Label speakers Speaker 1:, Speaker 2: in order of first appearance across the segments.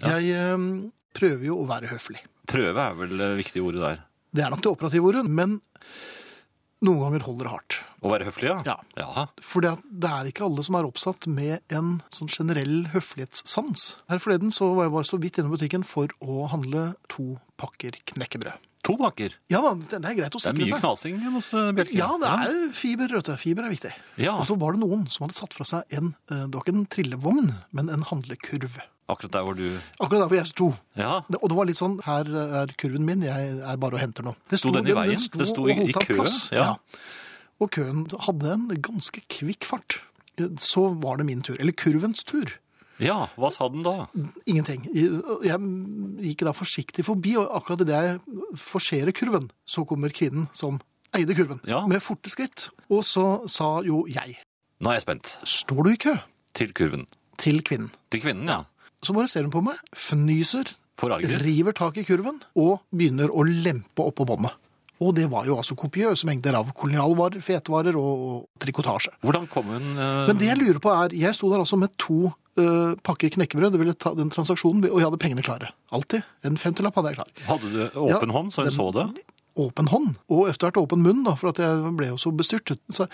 Speaker 1: Jeg eh, prøver jo å være høflig.
Speaker 2: Prøve er vel det viktige ordet der.
Speaker 1: Det er nok det operative ordet, men noen ganger holder det hardt.
Speaker 2: Å være høflig, ja?
Speaker 1: Ja.
Speaker 2: Jaha.
Speaker 1: For det, det er ikke alle som er oppsatt med en sånn generell høflighetssans. Her forleden så var jeg bare så vidt innom butikken for å handle to pakker knekkebrød.
Speaker 2: To bakker.
Speaker 1: Ja da, det er greit å
Speaker 2: Det er
Speaker 1: sikre
Speaker 2: mye
Speaker 1: seg.
Speaker 2: knasing hos eh, Bjelke.
Speaker 1: Ja, det er fiber, Røte. Fiber er viktig.
Speaker 2: Ja,
Speaker 1: Og så var det noen som hadde satt fra seg en eh, Det var ikke en trillevogn, men en handlekurv.
Speaker 2: akkurat der hvor du
Speaker 1: Akkurat der hvor jeg sto.
Speaker 2: Ja.
Speaker 1: Det- Og det var litt sånn Her er kurven min, jeg er bare og henter noe. Det
Speaker 2: Sto den i veien? Det sto i-
Speaker 1: og holdt
Speaker 2: i
Speaker 1: av
Speaker 2: kø?
Speaker 1: plass.
Speaker 2: Ja.
Speaker 1: Og køen hadde en ganske kvikk fart. Så var det min tur. Eller kurvens tur.
Speaker 2: ja, hva sa den da?
Speaker 1: Ingenting. Jeg gikk da forsiktig forbi, og akkurat idet jeg forserer kurven, så kommer kvinnen som eide kurven,
Speaker 2: Ja.
Speaker 1: med forte skritt. Og så sa jo jeg
Speaker 2: Nå er jeg spent.
Speaker 1: Står du i kø?
Speaker 2: Til kurven.
Speaker 1: Til kvinnen.
Speaker 2: Til kvinnen, ja.
Speaker 1: Så bare ser hun på meg, fnyser,
Speaker 2: Forarget.
Speaker 1: river tak i kurven og begynner å lempe oppå båndet. Og det var jo altså kopiøse mengder av kolonialvarer, fetvarer og, og trikotasje.
Speaker 2: Hvordan kom hun eh,
Speaker 1: Men det jeg lurer på er, jeg sto der altså med to eh, pakker knekkebrød, det ville ta den transaksjonen, og jeg hadde pengene klare. Alltid. En femtilapp hadde jeg klar.
Speaker 2: Hadde du åpen
Speaker 1: Ja,
Speaker 2: hånd, så hun
Speaker 1: den-
Speaker 2: så det?
Speaker 1: Åpen hånd, og etter hvert åpen munn, da, for at jeg ble jo så bestyrtet. Så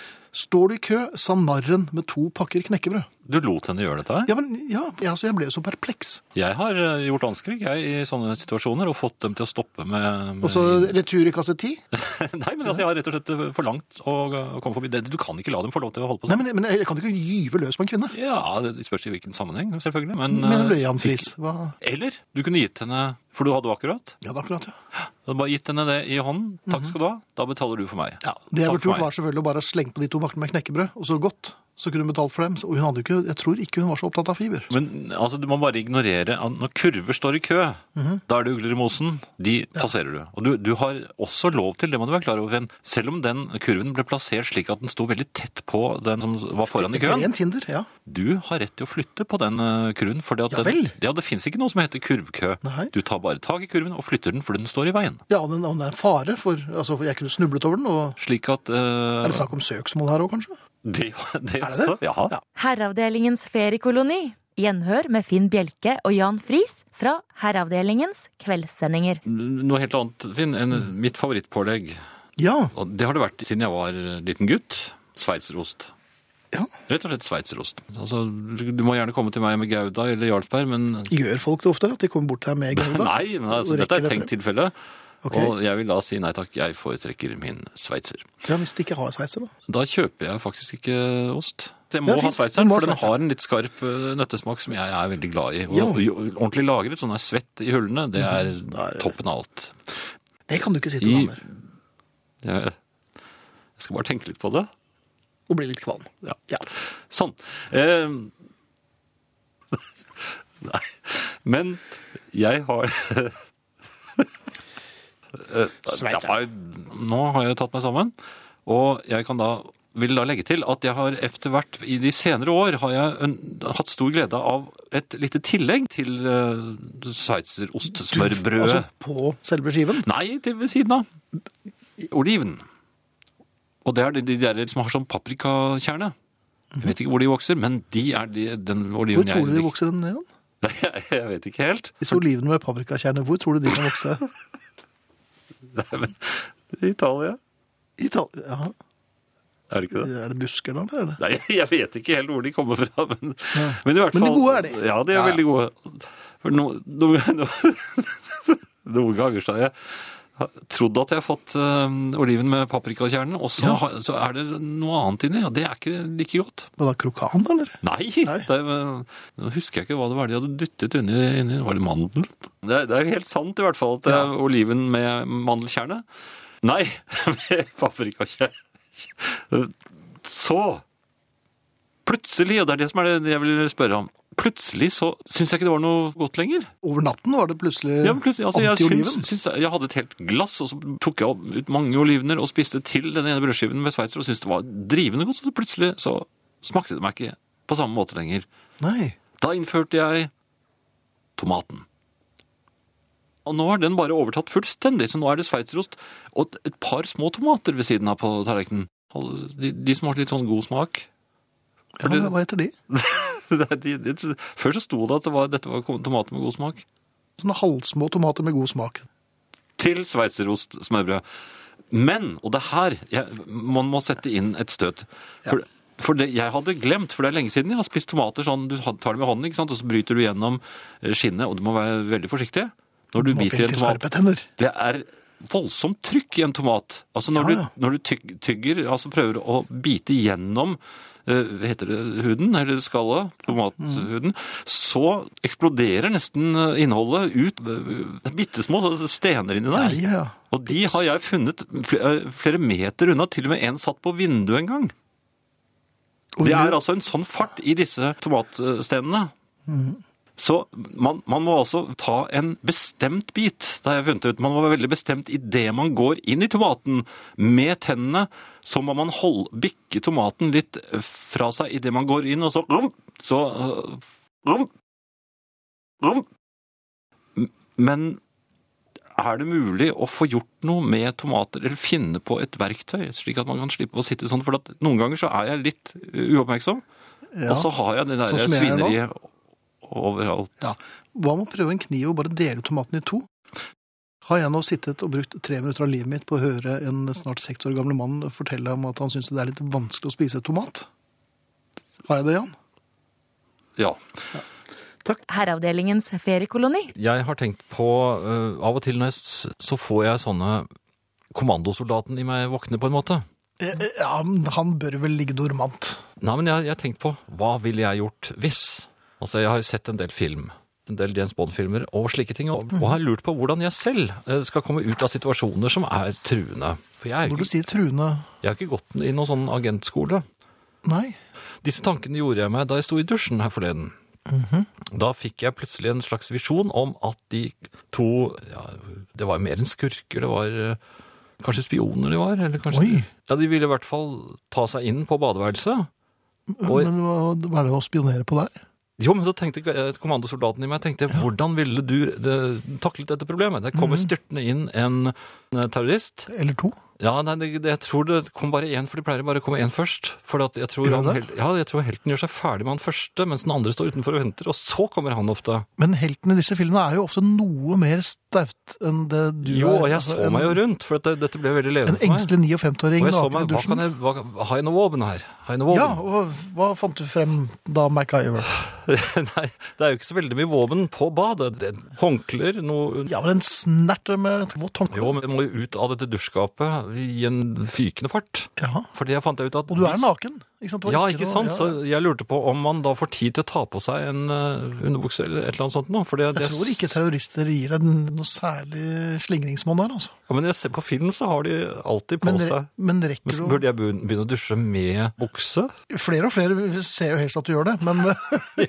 Speaker 1: står du i kø, sa narren med to pakker knekkebrød.
Speaker 2: Du lot henne gjøre dette her?
Speaker 1: Ja, men ja, jeg, altså, jeg ble jo så perpleks.
Speaker 2: Jeg har eh, gjort anskrig jeg, i sånne situasjoner og fått dem til å stoppe med, med
Speaker 1: Og så retur i kasse 10.
Speaker 2: Nei, men altså, jeg har rett og slett eh, forlangt å, å komme forbi. Det- Du kan ikke la dem få lov til å holde på
Speaker 1: Nei,
Speaker 2: sånn.
Speaker 1: men, men jeg kan ikke gyve løs på en kvinne.
Speaker 2: Ja, det spørs i hvilken sammenheng, selvfølgelig. Men,
Speaker 1: Men
Speaker 2: eh,
Speaker 1: løy han fris. Hva?
Speaker 2: Eller du kunne gitt henne For du hadde jo akkurat.
Speaker 1: Ja, det er akkurat, ja.
Speaker 2: Du hadde bare gitt henne det i hånden. Takk skal du ha. Da betaler du for meg.
Speaker 1: Mhm. ja det jeg
Speaker 2: Takk
Speaker 1: burde
Speaker 2: for
Speaker 1: gjort var selvfølgelig å bare slenge på de to bakkene med knekkebrød, og så godt. Så kunne hun betalt for dem. Og hun hadde jo ikke, jeg tror ikke hun var så opptatt av fiber.
Speaker 2: Men altså, du må bare ignorere at når kurver står i kø,
Speaker 1: Mhm.
Speaker 2: da er det ugler i mosen. De passerer du. Og du, du har også lov til, det må du være klar over, Finn, selv om den kurven ble plassert slik at den sto veldig tett på den som var foran i
Speaker 1: Det er
Speaker 2: køen,
Speaker 1: Rent hinder, ja.
Speaker 2: du har rett til å flytte på den eh, kurven. For
Speaker 1: Ja
Speaker 2: den,
Speaker 1: vel.
Speaker 2: ja, det fins ikke noe som heter kurvkø.
Speaker 1: Nei.
Speaker 2: Du tar bare tak i kurven og flytter den, for den står i veien.
Speaker 1: Ja, og den, og den er en fare, for altså, for jeg kunne snublet over den. og...
Speaker 2: Slik at eh,
Speaker 1: Er det snakk om søksmål her òg, kanskje?
Speaker 2: det, det,
Speaker 1: Er det
Speaker 2: også.
Speaker 1: det?
Speaker 2: Ja.
Speaker 1: Ja.
Speaker 3: Herreavdelingens feriekoloni. Gjenhør med Finn Bjelke og Jan Friis fra Herreavdelingens kveldssendinger.
Speaker 2: Noe helt annet, Finn,
Speaker 1: Mm.
Speaker 2: enn mitt favorittpålegg.
Speaker 1: Ja.
Speaker 2: Og det har det vært siden jeg var liten gutt. Sveitserost.
Speaker 1: ja.
Speaker 2: Rett og slett sveitserost. Altså, du du må gjerne komme til meg med Gouda eller Jarlsberg, men
Speaker 1: Gjør folk det oftere? At de kommer bort til deg med gauda?
Speaker 2: Nei, men altså,
Speaker 1: Og rekker
Speaker 2: dette er et
Speaker 1: det
Speaker 2: tenkt tilfelle.
Speaker 1: Ok.
Speaker 2: Og jeg vil da si nei takk, jeg foretrekker min sveitser.
Speaker 1: Ja, Hvis de ikke har sveitser, da.
Speaker 2: Da kjøper jeg faktisk ikke ost. Jeg
Speaker 1: Det
Speaker 2: må
Speaker 1: er
Speaker 2: ha
Speaker 1: fint.
Speaker 2: sveitseren,
Speaker 1: Du må ha
Speaker 2: for den
Speaker 1: sveitser.
Speaker 2: har en litt skarp eh, nøttesmak som jeg er veldig glad i. Og,
Speaker 1: Ja. Mhm.
Speaker 2: jo, ordentlig lagret, sånn er svett i hullene, det er
Speaker 1: da er det-
Speaker 2: toppen av alt.
Speaker 1: Det kan du ikke si til
Speaker 2: I-
Speaker 1: damer.
Speaker 2: Jeg, jeg skal bare tenke litt på det.
Speaker 1: Og bli litt kvalm.
Speaker 2: Ja.
Speaker 1: Ja.
Speaker 2: Sånn. Eh, nei. Men jeg har Eh,
Speaker 1: Sveitser.
Speaker 2: Ja, nei, Nå har jeg tatt meg sammen, og jeg kan da vil da legge til at jeg har etter hvert i de senere år har jeg en, hatt stor glede av et lite tillegg til uh, sveitserostsmørbrødet.
Speaker 1: Altså, på selve skiven.
Speaker 2: Nei, til ved siden av. Oliven. Og det er de, de der som har sånn paprikakjerne. Jeg vet ikke hvor de vokser, men de er de, den
Speaker 1: Hvor
Speaker 2: oliven jeg
Speaker 1: tror du de vokser den igjen?
Speaker 2: Nei, jeg, jeg vet ikke helt.
Speaker 1: Disse olivene med paprikakjerne, hvor tror du de kan vokse?
Speaker 2: Nei, men, I Italia.
Speaker 1: I Italia? Jaha.
Speaker 2: Er det ikke det?
Speaker 1: Er det busker da, eller?
Speaker 2: Nei, jeg vet ikke helt hvor de kommer fra, men, men i hvert fall
Speaker 1: Men de gode er de.
Speaker 2: Ja, de
Speaker 1: Ja,
Speaker 2: er
Speaker 1: ja.
Speaker 2: veldig gode. For no, no, no, noen ganger så har jeg trodd at jeg har fått eh, oliven med paprikakjernen, og så,
Speaker 1: Ja.
Speaker 2: har- så er det noe annet inni, og det er ikke like godt.
Speaker 1: Hva da, krokan, da, eller?
Speaker 2: Nei,
Speaker 1: Nei.
Speaker 2: Det, nå husker jeg ikke hva det var de hadde dyttet inni. inni var det mandel? Det, det er jo helt sant i hvert fall at det er oliven med mandelkjerne. Nei, med paprikakjerne. Så plutselig, og det er det som er det jeg vil spørre om, plutselig så syns jeg ikke det var noe godt lenger.
Speaker 1: Over natten var det plutselig,
Speaker 2: Ja, men plutselig, altså, jeg,
Speaker 1: antioliven.
Speaker 2: syns- syns jeg, jeg hadde et helt glass, og så tok jeg opp- ut mange olivener og spiste til den ene brødskiven med sveitser og syntes det var drivende godt, så plutselig så smakte det meg ikke på samme måte lenger.
Speaker 1: Nei.
Speaker 2: Da innførte jeg tomaten. Og nå har den bare overtatt fullstendig, så nå er det sveitserost og et- et par små tomater ved siden av på tallerkenen. Alle- De, de som har litt sånn god smak.
Speaker 1: Ja,
Speaker 2: det-
Speaker 1: men hva heter de?
Speaker 4: Det er- de, de, før så sto det at det var, dette var tomater med god smak.
Speaker 1: Sånne halvsmå tomater med god smak.
Speaker 4: Til sveitserost smørbrød. Men, og det er her jeg, man må sette inn et støt. For, for det, jeg hadde glemt, for det er lenge siden jeg har spist tomater sånn, du tar dem i hånden, ikke sant, og så bryter du gjennom eh, skinnet, og du må være veldig forsiktig når du
Speaker 1: Man har
Speaker 4: biter i en
Speaker 1: veldig
Speaker 4: tomat.
Speaker 1: skarpe tenner.
Speaker 4: Det er voldsomt trykk i en tomat. Altså når
Speaker 1: Ja, ja.
Speaker 4: du, når du tyg, tygger, altså prøver å bite gjennom eh, hva heter det huden, eller skallet, tomathuden, så eksploderer nesten eh, innholdet ut. eh, Bittesmå stener inni
Speaker 1: Ja,
Speaker 4: der.
Speaker 1: ja.
Speaker 4: Og de har jeg funnet flere, flere meter unna, til og med en satt på vinduet en gang.
Speaker 1: Og
Speaker 4: Det er
Speaker 1: vi-
Speaker 4: altså en sånn fart i disse tomatstenene. Så man, man må altså ta en bestemt bit, det har jeg funnet ut. Man må være veldig bestemt idet man går inn i tomaten med tennene. Så må man holde, bikke tomaten litt fra seg idet man går inn, og så Så øh, rum, rum. M- Men er det mulig å få gjort noe med tomater, eller finne på et verktøy, slik at man kan slippe å sitte sånn? For at noen ganger så er jeg litt øh, uoppmerksom,
Speaker 1: ja.
Speaker 2: altså-
Speaker 4: og så har jeg det der
Speaker 1: Sånn som jeg er nå.
Speaker 4: svineriet overalt.
Speaker 1: Ja. Hva med å prøve en kniv og bare dele ut tomaten i to? Har jeg nå sittet og brukt tre minutter av livet mitt på å høre en snart seks år gamle mann fortelle om at han syns det er litt vanskelig å spise tomat? Har jeg det, Jan?
Speaker 4: Ja.
Speaker 3: Herreavdelingens feriekoloni.
Speaker 2: Jeg har tenkt på eh, Av og til når jeg s- så får jeg sånne Kommandosoldaten i meg våkne, på en måte.
Speaker 1: Eh, eh, Ja, men han bør vel ligge dormant.
Speaker 2: Nei, men jeg jeg har tenkt på hva ville jeg gjort hvis? Altså, jeg har jo sett en del film, en del Jens Bond-filmer og slike ting, og, og har lurt på hvordan jeg selv eh, skal komme ut av situasjoner som er truende. For jeg er
Speaker 1: Når
Speaker 2: jo
Speaker 1: du
Speaker 2: ikke,
Speaker 1: sier truende
Speaker 2: jeg har ikke gått i noen sånn agentskole.
Speaker 1: Nei.
Speaker 2: Disse tankene gjorde jeg meg da jeg sto i dusjen her forleden. Da fikk jeg plutselig en slags visjon om at de to ja, Det var mer enn skurker, det var eh, kanskje spioner de var. Eller kanskje,
Speaker 1: Oi.
Speaker 2: Ja, De ville i hvert fall ta seg inn på badeværelset. Oi.
Speaker 1: Men hva, hva er det å spionere på der?
Speaker 2: Jo, men så tenkte eh, kommandosoldaten i meg, tenkte, jeg, hvordan ville du eh, taklet dette problemet? Det kommer styrtende inn en eh, terrorist.
Speaker 1: Eller to?
Speaker 2: Ja, nei, det, det, jeg tror det kom bare én, for det pleier bare å komme én først. For at jeg, tror
Speaker 1: Gjør
Speaker 2: han,
Speaker 1: det?
Speaker 2: hel- ja, jeg tror helten gjør seg ferdig med han første, mens den andre står utenfor og venter, og så kommer han ofte.
Speaker 1: Men heltene i disse filmene er jo ofte noe mer staut enn det du
Speaker 2: Jo,
Speaker 1: er.
Speaker 2: og jeg
Speaker 1: Altså,
Speaker 2: så
Speaker 1: en-
Speaker 2: meg jo rundt, for at det, dette ble veldig
Speaker 1: En
Speaker 2: levende for meg.
Speaker 1: engstelig 59-åring
Speaker 2: Og jeg så
Speaker 1: naken i
Speaker 2: meg, hva
Speaker 1: dusjen.
Speaker 2: kan jeg, hva, har jeg noe våpen her? Har jeg noe
Speaker 1: Ja,
Speaker 2: våpen?
Speaker 1: og hva fant du frem da, MacGyver?
Speaker 2: Nei, det er jo ikke så veldig mye våpen på badet. Det er Håndklær, noe
Speaker 1: Ja, men en snert med et vått håndkle.
Speaker 2: Jo, men jeg må jo ut av dette dusjskapet i en fykende fart.
Speaker 1: Ja.
Speaker 2: Fordi jeg fant ut at...
Speaker 1: Og du er naken. Ikke sant? Du har
Speaker 2: Ja, ikke
Speaker 1: noe-
Speaker 2: sant?
Speaker 1: ja.
Speaker 2: Så jeg lurte på om man da får tid til å ta på seg en eh, underbukse eller et eller annet sånt nå. Fordi
Speaker 1: Jeg tror ikke terrorister gir deg noe særlig slingringsmonn der, altså.
Speaker 2: Ja, men jeg ser på film så har de alltid på
Speaker 1: Men, re-
Speaker 2: seg...
Speaker 1: men rekker
Speaker 2: Men så
Speaker 1: du
Speaker 2: burde jeg begyn- begynne å dusje med bukse?
Speaker 1: Flere og flere ser jo helst at du gjør det, men eh,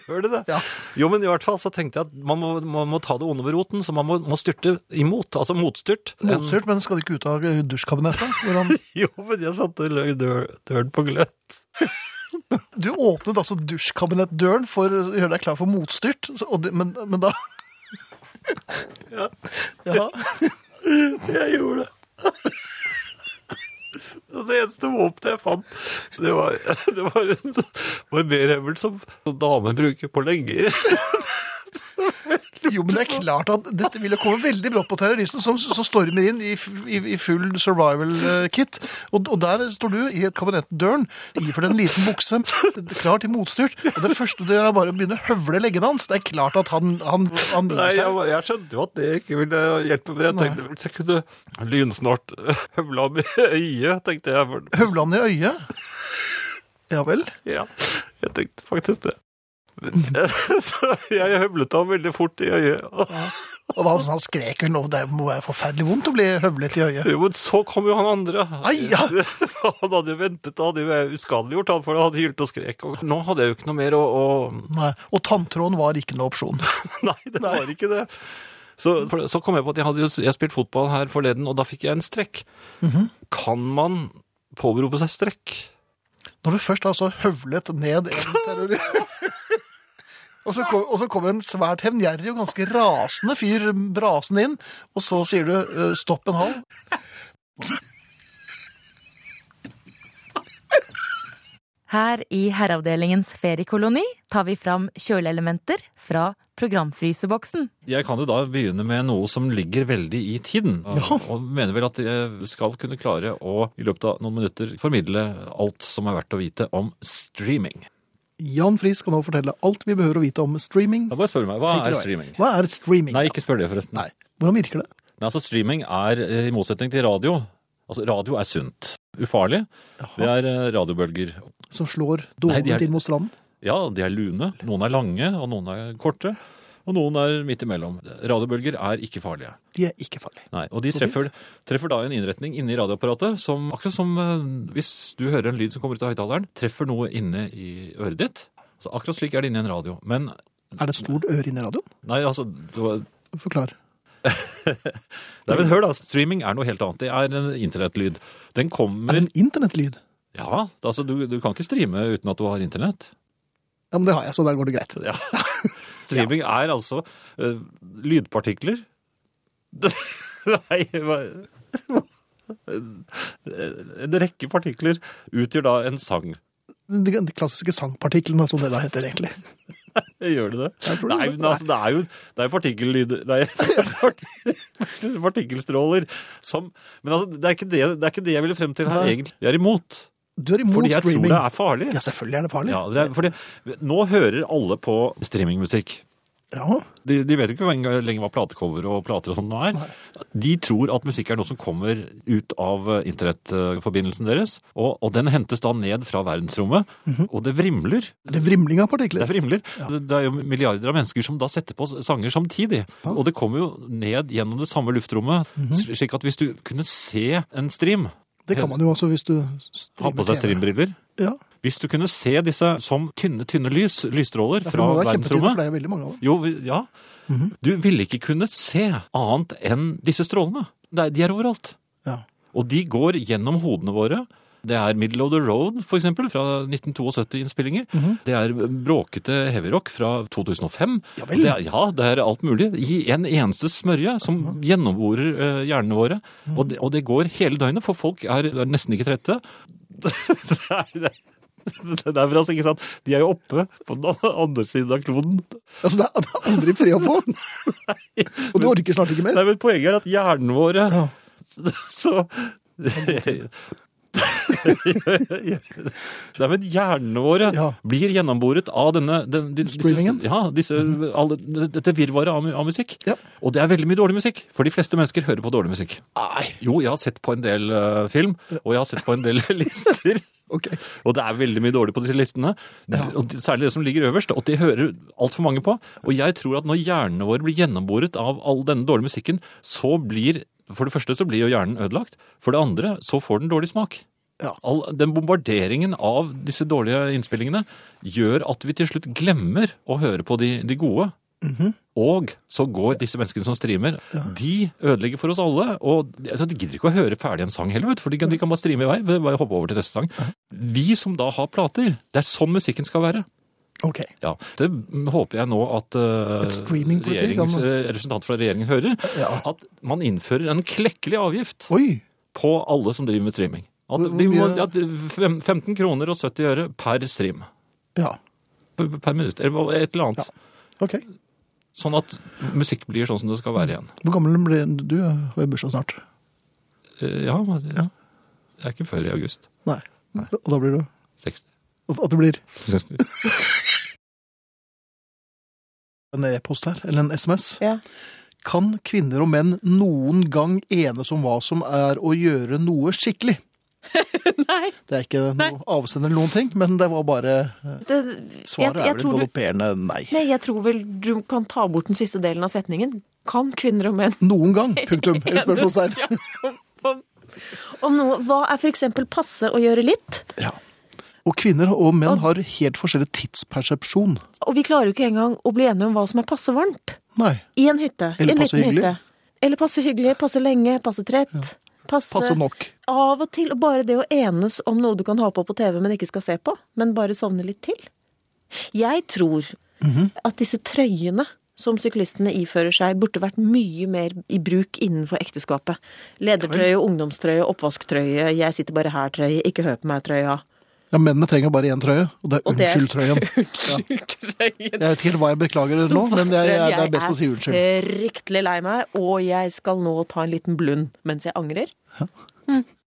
Speaker 2: Gjør de det?
Speaker 1: ja.
Speaker 2: Jo, men i hvert fall så tenkte jeg at man må, man må ta det onde ved roten, så man må, må styrte imot, altså motstyrt.
Speaker 1: Motstyrt, men skal du ikke ut av dusjkabinettet? Hvor han-
Speaker 2: En- Jo, men jeg satte løg dør, døren på gløtt.
Speaker 1: Du åpnet altså dusjkabinettdøren for å gjøre deg klar for motstyrt, så- og det, men, men da Ja.
Speaker 2: Jeg gjorde det. Og Det eneste våpenet jeg fant, det var, det var en barberhemmel som damer bruker på legger.
Speaker 1: Jo, men det er klart at dette ville komme veldig brått på terroristen, som, som stormer inn i, f- i, i full survival-kit. Og, og der står du i kabinettdøren, iført en liten bukse, klar til motstyrt. Og det første du gjør, er bare å begynne å høvle leggene hans. Det er klart at han, han, han
Speaker 2: Nei, jeg, var- jeg skjønte jo at det ikke ville hjelpe, men jeg tenkte hvis jeg kunne lynsnart høvla ham i øyet, tenkte jeg. for-
Speaker 1: Høvle han i øyet. Ja vel.
Speaker 2: Ja, jeg tenkte faktisk det. Men, så jeg høvlet ham veldig fort i øyet. og-
Speaker 1: Og da han skrek vel nå, det må være forferdelig vondt å bli høvlet i øyet.
Speaker 2: Jo, men så kom jo han andre.
Speaker 1: Ai, ja.
Speaker 2: Han hadde jo ventet, han hadde jo uskadeliggjort han, for han hadde hylt og skrek. Og... Nå hadde jeg jo ikke noe mer å, å...
Speaker 1: Nei. Og tanntråden var ikke noe opsjon.
Speaker 2: Nei, det var ikke det. Så, for, så kom jeg på at jeg hadde jo jeg spilt fotball her forleden, og da fikk jeg en strekk. Mhm. Kan man påberope seg strekk?
Speaker 1: Når du først har så høvlet ned en terrorist Og så, kom, og så kommer en svært hevngjerrig og ganske rasende fyr brasende inn, og så sier du eh, 'stopp en halv'.
Speaker 3: Her i Herreavdelingens feriekoloni tar vi fram kjøleelementer fra programfryseboksen.
Speaker 2: Jeg kan jo da begynne med noe som ligger veldig i tiden. Og mener vel at jeg skal kunne klare å i løpet av noen minutter formidle alt som er verdt å vite om streaming.
Speaker 1: Jan Friis skal nå fortelle alt vi behøver å vite om streaming.
Speaker 2: Da bare spør du meg, hva
Speaker 1: Take it
Speaker 2: er
Speaker 1: away.
Speaker 2: streaming?
Speaker 1: Hva er streaming?
Speaker 2: Nei, ikke spør det forresten.
Speaker 1: Nei. Hvordan virker det?
Speaker 2: Nei, altså streaming er, eh, i motsetning til radio, altså radio er sunt. Ufarlig. Det er eh, radiobølger.
Speaker 1: Som slår
Speaker 2: Nei, de er-
Speaker 1: dårlig inn mot stranden?
Speaker 2: Ja, de er lune. Noen er lange, og noen er korte. Og noen er midt imellom. Radiobølger er ikke farlige.
Speaker 1: De er ikke farlige.
Speaker 2: Nei, og de
Speaker 1: Så
Speaker 2: treffer, treffer da en innretning inni radioapparatet som akkurat som eh, hvis du hører en lyd som kommer ut av høyttaleren, treffer noe inne i øret ditt. Så akkurat slik er det inni en radio. Men
Speaker 1: Er det et stort øre inne i radioen?
Speaker 2: nei, altså det var-
Speaker 1: Forklar.
Speaker 2: Nei, men hør da, streaming er noe helt annet. Det er en internettlyd. Den
Speaker 1: Er
Speaker 2: kommer
Speaker 1: det en internettlyd?
Speaker 2: Ja, altså du, du kan ikke streame uten at du har internett.
Speaker 1: Ja, men det har jeg, så der går det greit.
Speaker 2: Ja. Streaming er altså eh, lydpartikler. Nei, hva- En rekke partikler utgjør da en sang.
Speaker 1: De, de klassiske sangpartiklene, som det da heter egentlig.
Speaker 2: Gjør det det?
Speaker 1: Jeg tror det.
Speaker 2: Nei, men altså, det er jo det er partikkellyd Nei, partik- partikkelstråler som Men altså, det er ikke det, det, er ikke det jeg ville frem til her,
Speaker 1: Nei.
Speaker 2: egentlig. Jeg er imot.
Speaker 1: Du er imot
Speaker 2: Fordi jeg
Speaker 1: streaming.
Speaker 2: tror det er farlig.
Speaker 1: Ja, selvfølgelig er det farlig.
Speaker 2: Ja, det er, fordi, nå hører alle på streamingmusikk.
Speaker 1: Ja.
Speaker 2: De, de vet jo ikke hva engang- lenger hva platecover og plater og sånt nå er. De tror at musikk er noe som kommer ut av eh, internettforbindelsen deres. Og, og den hentes da ned fra verdensrommet, og det vrimler.
Speaker 1: Er det vrimling av
Speaker 2: Det
Speaker 1: partikler?
Speaker 2: vrimler. Det, det er jo milliarder av mennesker som da setter på sanger samtidig. Og det kommer jo ned gjennom det samme luftrommet, sl- slik at hvis du kunne se en stream
Speaker 1: Det kan man jo også hvis du
Speaker 2: Ha
Speaker 1: streamer
Speaker 2: på seg
Speaker 1: TV.
Speaker 2: streambriller.
Speaker 1: Ja,
Speaker 2: Hvis du kunne se disse som tynne, tynne lys, lysstråler
Speaker 1: for
Speaker 2: fra
Speaker 1: nå er det kjempetid,
Speaker 2: verdensrommet
Speaker 1: for det er veldig mange av dem.
Speaker 2: Jo, vi- ja. Du ville ikke kunnet se annet enn disse strålene. Det er- De er overalt.
Speaker 1: Ja.
Speaker 2: Og de går gjennom hodene våre. Det er Middle of the Road, for eksempel, fra 1972-innspillinger.
Speaker 1: Mhm.
Speaker 2: Det er bråkete heavyrock fra 2005.
Speaker 1: Ja vel.
Speaker 2: det er, ja, det er alt mulig. I en eneste smørje som
Speaker 1: Mhm.
Speaker 2: gjennomborer eh, hjernene våre. Og, det, og det går hele døgnet, for folk er, er nesten ikke trette. Nei, det, det er vel altså ikke sant. De er jo oppe på den andre siden av kloden.
Speaker 1: Altså, det er, det er aldri fred å få. Og du orker snart ikke mer.
Speaker 2: Nei, men poenget er at hjernen våre
Speaker 1: Ja.
Speaker 2: Så Nei, men hjernene våre
Speaker 1: Ja.
Speaker 2: blir gjennomboret av denne den, de- disse-
Speaker 1: Streamingen?
Speaker 2: Ja, disse, alle, dette virvaret av, mu- av musikk.
Speaker 1: Ja.
Speaker 2: Og det er veldig mye dårlig musikk, for de fleste mennesker hører på dårlig musikk.
Speaker 1: Nei,
Speaker 2: Jo, jeg har sett på en del eh, film, og jeg har sett på en del lister.
Speaker 1: ok.
Speaker 2: Og det er veldig mye dårlig på disse listene.
Speaker 1: Ja.
Speaker 2: Og det- Særlig det som ligger øverst, og det hører altfor mange på. Og jeg tror at når hjernene våre blir gjennomboret av all denne dårlige musikken, så blir For det første så blir jo hjernen ødelagt. For det andre så får den dårlig smak.
Speaker 1: Ja.
Speaker 2: All den bombarderingen av disse dårlige innspillingene gjør at vi til slutt glemmer å høre på de, de gode.
Speaker 1: Mhm.
Speaker 2: Og så går disse menneskene som streamer, de ødelegger for oss alle. Og de- altså, de gidder ikke å høre ferdig en sang heller, vet du, for de kan, de kan bare streame i vei. Bare hoppe over til neste sang. Vi som da har plater, det er sånn musikken skal være.
Speaker 1: Ok.
Speaker 2: Ja, Det håper jeg nå at eh,
Speaker 1: Et streamingpolitikk,
Speaker 2: regjerings-
Speaker 1: ja,
Speaker 2: eh, representanter fra regjeringen hører.
Speaker 1: Ja.
Speaker 2: At man innfører en klekkelig avgift
Speaker 1: Oi,
Speaker 2: på alle som driver med streaming. At
Speaker 1: Hvor- hvor
Speaker 2: de må,
Speaker 1: mye-
Speaker 2: at fem- 15 kroner og 70 øre per stream.
Speaker 1: ja.
Speaker 2: Per per minutt, eller et eller annet.
Speaker 1: Ok.
Speaker 2: Sånn at musikk blir sånn som det skal være igjen.
Speaker 1: Hvor gammel ble du? Du har jo bursdag snart.
Speaker 2: Eh, Ja, men det det er ikke før i august.
Speaker 1: Nei. Og da blir du?
Speaker 2: 60.
Speaker 1: At det blir en e-post her, eller en SMS.
Speaker 5: Ja.
Speaker 1: Kan kvinner og menn noen gang enes om hva som er å gjøre noe skikkelig?
Speaker 5: Nei,
Speaker 1: Det er ikke
Speaker 5: Nei.
Speaker 1: noe avsender eller noen ting, men det var bare
Speaker 5: det, jeg,
Speaker 1: Svaret
Speaker 5: jeg,
Speaker 1: er vel
Speaker 5: tror du,
Speaker 1: galopperende nei.
Speaker 5: nei, jeg tror vel du kan ta bort den siste delen av setningen. Kan kvinner og menn
Speaker 1: Noen gang, punktum. Eller spørsmålstegn.
Speaker 5: enes, ja, om- Om noe, hva er for eksempel passe å gjøre litt?
Speaker 1: Ja. Og kvinner og menn har helt forskjellig tidspersepsjon.
Speaker 5: Og vi klarer jo ikke engang å bli enige om hva som er passe varmt.
Speaker 1: Nei.
Speaker 5: I en hytte.
Speaker 1: Eller
Speaker 5: i en
Speaker 1: passe
Speaker 5: liten
Speaker 1: hyggelig.
Speaker 5: hytte. Eller passe hyggelig, passe lenge, passe trett. Passe,
Speaker 1: Passe nok.
Speaker 5: Av og til, og bare det å enes om noe du kan ha på på TV, men ikke skal se på, men bare sovne litt til. Jeg tror
Speaker 1: Mhm.
Speaker 5: at disse trøyene som syklistene ifører seg, burde vært mye mer i bruk innenfor ekteskapet. Ledertrøye, ungdomstrøye, oppvasktrøye, jeg sitter bare her-trøye, ikke hør på meg-trøya.
Speaker 1: Ja, Mennene trenger bare én trøye, og det er
Speaker 5: Og det-
Speaker 1: unnskyld-trøyen.
Speaker 5: Unnskyld.
Speaker 1: Jeg vet ikke helt hva jeg beklager nå, men det er, jeg, det er best å si unnskyld.
Speaker 5: Jeg er fryktelig lei meg, og jeg skal nå ta en liten blund mens jeg angrer.